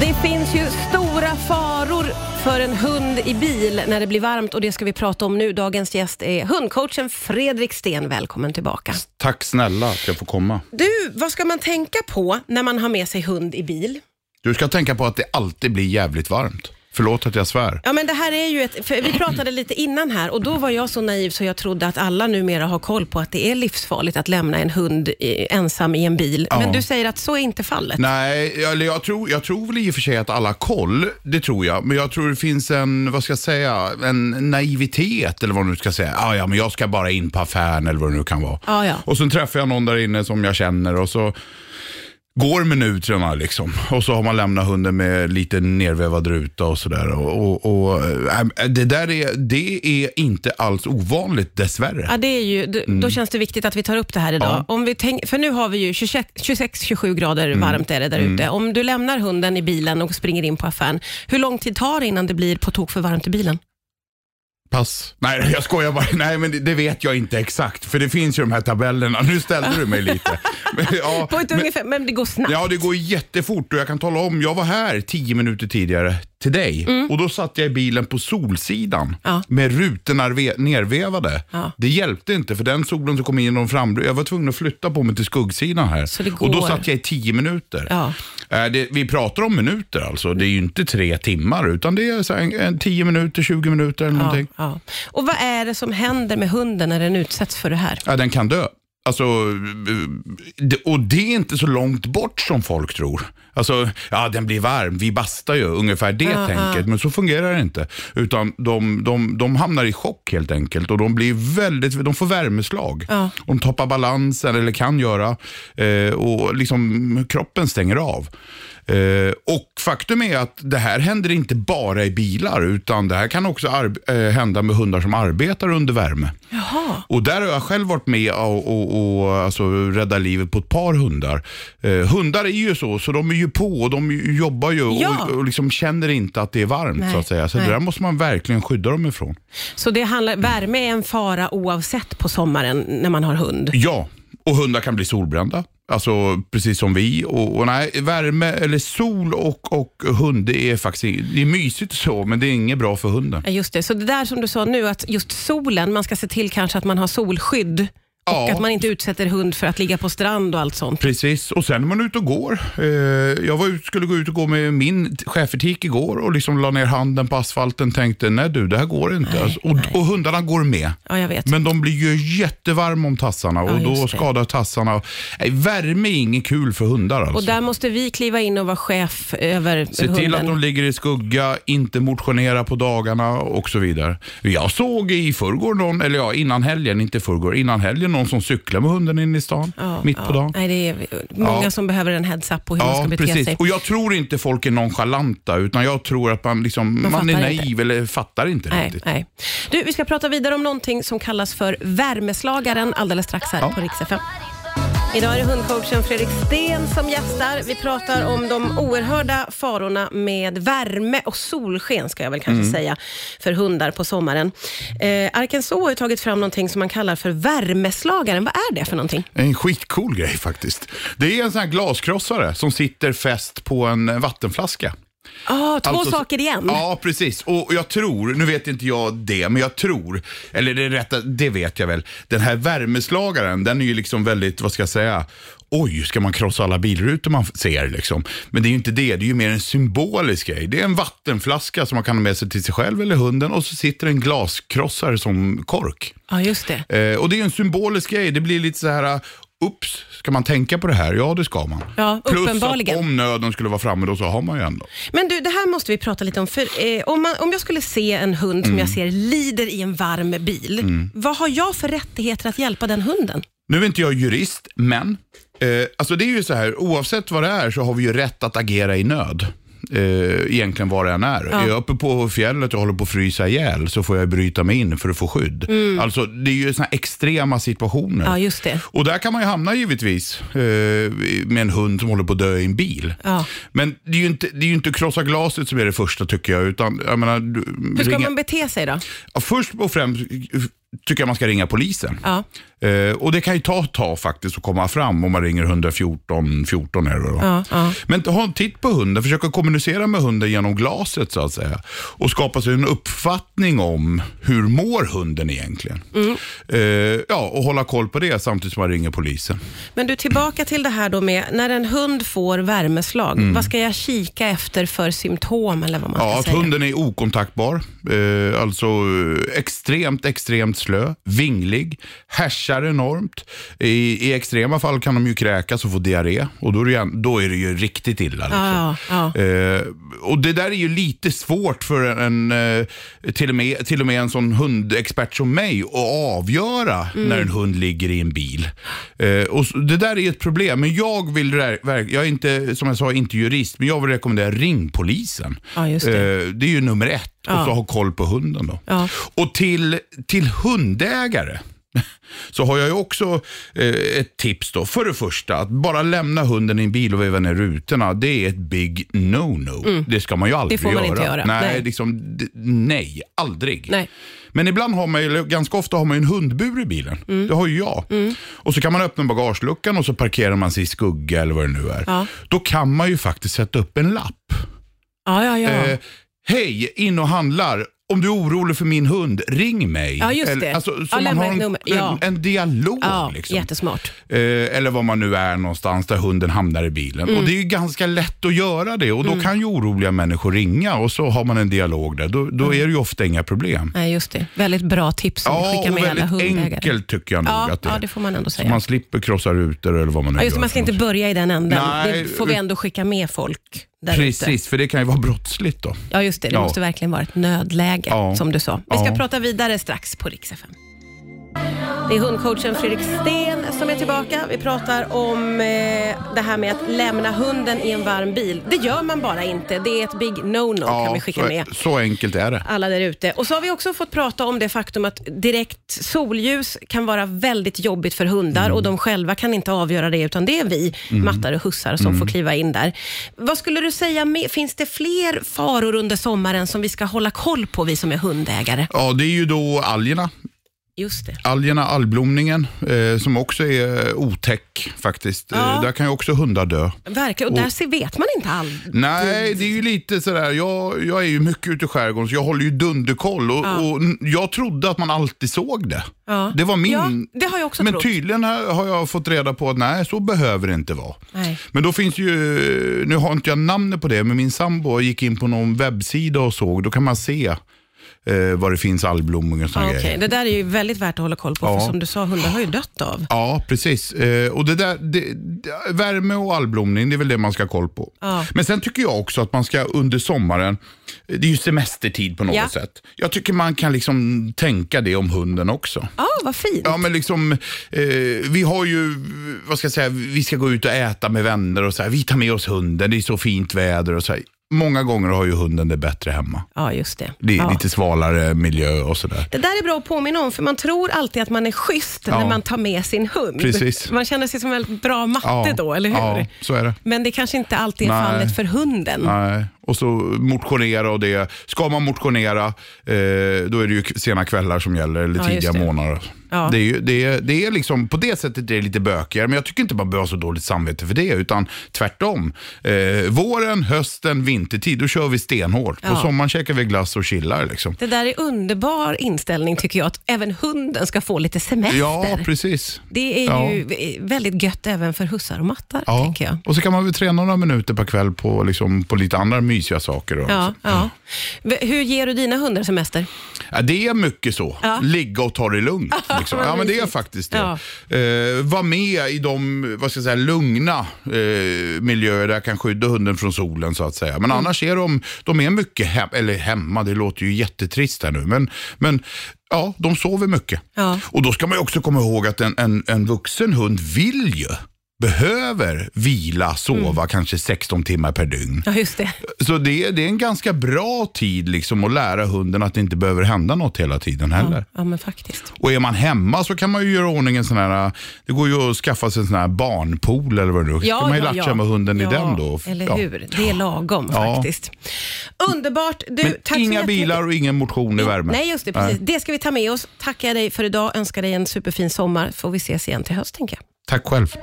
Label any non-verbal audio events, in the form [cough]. Det finns ju stora faror för en hund i bil när det blir varmt och det ska vi prata om nu. Dagens gäst är hundcoachen Fredrik Sten. Välkommen tillbaka. Tack snälla att jag får komma. Du, vad ska man tänka på när man har med sig hund i bil? Du ska tänka på att det alltid blir jävligt varmt. Förlåt att jag svär. Ja, men det här är ju ett, för vi pratade lite innan här och då var jag så naiv så jag trodde att alla numera har koll på att det är livsfarligt att lämna en hund i, ensam i en bil. Men du säger att så är inte fallet. Nej, eller jag tror, jag tror väl i och för sig att alla har koll, det tror jag. Men jag tror det finns en, vad ska jag säga, en naivitet eller vad man nu ska säga. Ah, ja, men jag ska bara in på affären eller vad det nu kan vara. Ja, ja. Och sen träffar jag någon där inne som jag känner och så går minuterna liksom. Och så har man lämnat hunden med lite nervevad ruta och sådär. Och, och, och, äh, det där är, det är inte alls ovanligt dessvärre. Ja, det är ju, d- Mm. Då känns det viktigt att vi tar upp det här idag. Om vi tänk, för nu har vi ju 26-27 grader Mm. varmt är det där ute. Om du lämnar hunden i bilen och springer in på affären, hur lång tid tar det innan det blir på tok för varmt i bilen? Pass. Nej, [laughs] jag skojar bara. Nej, men det, det vet jag inte exakt. För det finns ju de här tabellerna. Nu ställde du [laughs] mig lite. Men, ja, På ett men- ungefär, men det går snabbt. Ja, det går jättefort och jag kan tala om, jag var här tio minuter tidigare till dig och då satt jag i bilen på solsidan Mm. Ja. med rutorna ve- nervevade. Ja. Det hjälpte inte för den solen som kom in genom framrutan, jag var tvungen att flytta på mig till skuggsidan här. Så det går. Och då satt jag i tio minuter. Ja. Eh, Det, vi pratar om minuter alltså, det är ju inte tre timmar utan det är så här en, en tio minuter, 20 minuter eller Ja, någonting. ja. Och vad är det som händer med hunden när den utsätts för det här? Ja, den kan dö. Alltså, det- och det är inte så långt bort som folk tror. Alltså, ja den blir varm, vi bastar ju, ungefär det Ah, tänket. Men så fungerar det inte. Utan de, de, de hamnar i chock helt enkelt och de, blir väldigt, de får värmeslag. Ja. De tappar balansen, eller kan göra, eh, och liksom kroppen stänger av. Eh, och Faktum är att det här händer inte bara i bilar, utan det här kan också arb- eh, hända med hundar som arbetar under värme. Jaha. Och där har jag själv varit med och, och, och alltså, rädda livet på ett par hundar. Eh, hundar är ju så, så de är ju på och de ju- jobbar ju Ja. och, och liksom känner inte att det är varmt Nej, så att säga. Så nej. det där måste man verkligen skydda dem ifrån. Så det handlar, värme är en fara oavsett på sommaren när man har hund? Ja, och hundar kan bli solbrända. Alltså precis som vi. Och, och nej, värme eller sol och, och hund, det är faktiskt det är mysigt och så, men det är inget bra för hunden. Ja, just det. Så det där som du sa nu, att just solen, man ska se till kanske att man har solskydd och Ja. att man inte utsätter hund för att ligga på strand och allt sånt. Precis, och sen är man ute och går. Eh, jag var ut, skulle gå ut och gå med min t- schäfertik igår och liksom la ner handen på asfalten tänkte nej du, det här går inte. Nej, alltså, och, nej. och hundarna går med. Ja, jag vet. Men de blir ju jättevarma om tassarna och just då det. skadar tassarna. Nej, värme är inget kul för hundar alltså. Och där måste vi kliva in och vara chef över Se hunden. till att de ligger i skugga, inte motionera på dagarna och så vidare. Jag såg i förrgår någon, eller ja, innan helgen, inte förrgår, innan helgen någon som cyklar med hunden in i stan, Ja, mitt ja. på dagen. Nej, det är många Ja. som behöver en heads up på hur man ska Ja, bete precis. sig. Och jag tror inte folk är nonchalanta, utan jag tror att man, Man liksom, man, är fattar naiv inte. eller fattar inte Nej, riktigt. nej. Du, vi ska prata vidare om någonting som kallas för värmeslagaren alldeles strax här på Rix FM. Idag är det hundcoachen Fredrik Sten som gästar. Vi pratar om de oerhörda farorna med värme och solsken, ska jag väl Mm. kanske säga, för hundar på sommaren. Eh, Arkansas har ju tagit fram någonting som man kallar för värmeslagaren. Vad är det för någonting? En skitcool grej faktiskt. Det är en sån här glaskrossare som sitter fäst på en vattenflaska. Ah, två Alltså- saker igen. Ja, precis. Och jag tror, nu vet inte jag det, men jag tror, eller det rätta, det vet jag väl. Den här värmeslagaren, den är ju liksom väldigt, vad ska jag säga, oj, ska man krossa alla bilrutor man ser liksom? Men det är ju inte det, det är ju mer en symbolisk grej. Det är en vattenflaska som man kan ha med sig till sig själv eller hunden och så sitter en glaskrossare som kork. Ja, just det. Eh, och det är ju en symbolisk grej, det blir lite så här, ups, ska man tänka på det här? Ja, det ska man. Ja, Plus uppenbarligen. att om nöden skulle vara framme då så har man ju ändå. Men du, det här måste vi prata lite om. För, eh, om, man, om jag skulle se en hund Mm. som jag ser lider i en varm bil, vad har jag för rättigheter att hjälpa den hunden? Nu är inte jag jurist, men eh, alltså det är ju så här, oavsett vad det är så har vi ju rätt att agera i nöd. Eh, egentligen var det än är. Är jag uppe på fjället och håller på att frysa ihjäl så får jag bryta mig in för att få skydd. Alltså Det är ju såna här extrema situationer. Mm. Ja, just det. Och där kan man ju hamna givetvis eh, med en hund som håller på att dö i en bil. Ja. Men det är ju inte, det är ju inte krossa glaset som är det första tycker jag. Utan, jag menar, du- Hur ska ringa- man bete sig då? Ja, först och främst eh, tycker jag man ska ringa polisen. Ja. Eh, Eh, och det kan ju ta ett tag faktiskt att komma fram om man ringer 114 14 är det då. Ja, ja. Men ta en titt på hunden, försök att kommunicera med hunden genom glaset så att säga. Och skapa sig en uppfattning om hur mår hunden egentligen. Mm. Eh, ja, och hålla koll på det samtidigt som man ringer polisen. Men du, tillbaka till det här då med när en hund får värmeslag. Vad ska jag kika efter för symptom eller vad man Mm. Ja, ska att säga? hunden är okontaktbar, eh, alltså eh, extremt, extremt slö, vinglig, häschar enormt. I, I extrema fall kan de ju kräkas och få diarré och då är det ju, då är det ju riktigt illa. Liksom. Ja, ja. Eh, och det där är ju lite svårt för en, eh, till, och med, till och med en sån hundexpert som mig att avgöra Mm. när en hund ligger i en bil. Eh, och så, det där är ett problem, men jag vill, rä- verk- jag är inte, som jag sa, inte jurist, men jag vill rekommendera ring polisen. Ja, just det. Eh, det är ju nummer ett. Och så ha koll på hunden då. Ja. Och till, till hundägare så har jag ju också eh, ett tips då. För det första, att bara lämna hunden i en bil och veva ner rutorna, det är ett big no-no. Det ska man ju aldrig Mm. får man göra. inte göra. Nej, Nej. Liksom, d- nej, aldrig. Nej. Men ibland har man ju, eller ganska ofta har man ju en hundbur i bilen. Mm. Det har ju jag. Och så kan man öppna bagageluckan och så parkerar man sig i skugga eller vad det nu är. Ja. Då kan man ju faktiskt sätta upp en lapp. Ja, ja, ja. Eh, Hej, in och handlar. Om du är orolig för min hund, ring mig. Ja, just det. Eller, Alltså, så Ja, man lämna har ett en, nummer. Ja. en, en dialog. ja liksom. Jättesmart. Eh, eller var man nu är någonstans där hunden hamnar i bilen. Mm. Och Det är ju ganska lätt att göra det och då kan ju oroliga människor ringa och så har man en dialog där. Då, Mm. då är det ju ofta inga problem. Nej, just det. Väldigt bra tips att Ja, skicka och med alla väldigt hundägare. enkelt tycker jag nog Ja, att det är. ja, det får man ändå så säga. man slipper krossa rutor eller vad man nu Ja, just, det, gör. man ska för inte något. börja i den änden. Nej, eh, det får vi ändå skicka med folk där ute. Precis, för det kan ju vara brottsligt då. Ja, just det. Det Ja. måste verkligen vara ett nödläge, Ja. som du sa. Vi ska Ja. prata vidare strax på Rix FM. Det är hundcoachen Fredrik Sten som är tillbaka. Vi pratar om eh, det här med att lämna hunden i en varm bil. Det gör man bara inte. Det är ett big no-no, kan vi skicka så, med så enkelt är det. alla där ute. Och så har vi också fått prata om det faktum att direkt solljus kan vara väldigt jobbigt för hundar Mm. och de själva kan inte avgöra det, utan det är vi mattar och hussar som Mm. får kliva in där. Vad skulle du säga, med, finns det fler faror under sommaren som vi ska hålla koll på, vi som är hundägare? Ja, det är ju då algerna. Just det. Algerna, algblomningen, eh, som också är otäck faktiskt. Ja. Eh, där kan ju också hundar dö. Verkligen, och där ser, vet man inte all... Nej, det är ju lite sådär, jag, jag är ju mycket ute i skärgården så jag håller ju dunderkoll och, och n- jag trodde att man alltid såg det. Ja. Det var min... Ja, det har jag också Men trott. tydligen har har jag fått reda på att nej, så behöver det inte vara. Nej. Men då finns ju, nu har inte jag namnet på det, men min sambo gick in på någon webbsida och såg, då kan man se eh, vad det finns algblomning och sådana Ja, Ah, Okej, grejer. Det där är ju väldigt värt att hålla koll på, för som du sa, hundar har ju dött av. Ja, precis. Eh, och det där, det, det- värme och allblomning, det är väl det man ska ha koll på. Ja. Men sen tycker jag också att man ska under sommaren, det är ju semestertid på något Ja. sätt. Jag tycker man kan liksom tänka det om hunden också. Ja, Ah, vad fint. Ja, men liksom, eh, vi har ju, vad ska jag säga, vi ska gå ut och äta med vänner och så här, vi tar med oss hunden, det är så fint väder och så här. Många gånger har ju hunden det bättre hemma. Ja, just det. Det är ja. lite svalare miljö och sådär. Det där är bra att påminna om, för man tror alltid att man är schysst när Ja. man tar med sin hund. Precis. Man känner sig som en väldigt bra matte då, eller hur? Ja, så är det. Men det kanske inte alltid är Nej. fallet för hunden. Nej, och så motionera och det. Ska man motionera, eh, då är det ju k- sena kvällar som gäller, eller Ja, just tidiga det. morgnar. Ja. Det, är ju, det, är, det är liksom, på det sättet är det lite bökigare, men jag tycker inte man behöver ha så dåligt samvete för det, utan tvärtom. Eh, våren, hösten, vintertid, då kör vi stenhårt. Ja. På sommaren käkar vi glass och chillar. Liksom. Det där är underbar inställning tycker jag, att även hunden ska få lite semester. Ja, precis. det är Ja. ju väldigt gött även för hussar och mattar, Ja. tänker jag. Och så kan man väl träna några minuter per kväll på, liksom, på lite andra mysiga saker. Då, Ja, ja. V- Hur ger du dina hundar semester? Ja, det är mycket så. Ja. Ligga och ta det [laughs] lugnt. Liksom. vad Ja, men det är mysigt. faktiskt det. Ja. Eh, var med i de vad ska jag säga, lugna eh, miljöer där jag kan skydda hunden från solen så att säga. Mm. Men annars är de, de är mycket hem, eller hemma, det låter ju jättetrist här nu. Men, men ja, de sover mycket. Ja. Och då ska man ju också komma ihåg att en, en, en vuxen hund vill ju behöver vila, sova Mm. kanske 16 timmar per dygn. Ja, just det. Så det, det är en ganska bra tid liksom att lära hunden att det inte behöver hända något hela tiden heller. Ja, men faktiskt. Och är man hemma så kan man ju göra i ordning en sån här, det går ju att skaffa sig en sån här barnpool eller vad det nu är. Ja, kan man ju ja, latcha ja. med hunden ja, i den då. Eller Ja. hur? Det är lagom Ja. faktiskt. Underbart. Du, Men tack så inga jättemycket. bilar och ingen motion i värme. Nej, just det. Precis. Det ska vi ta med oss. Tackar dig för idag. Önskar dig en superfin sommar. Får vi ses igen till höst, tänker jag. Tack själv.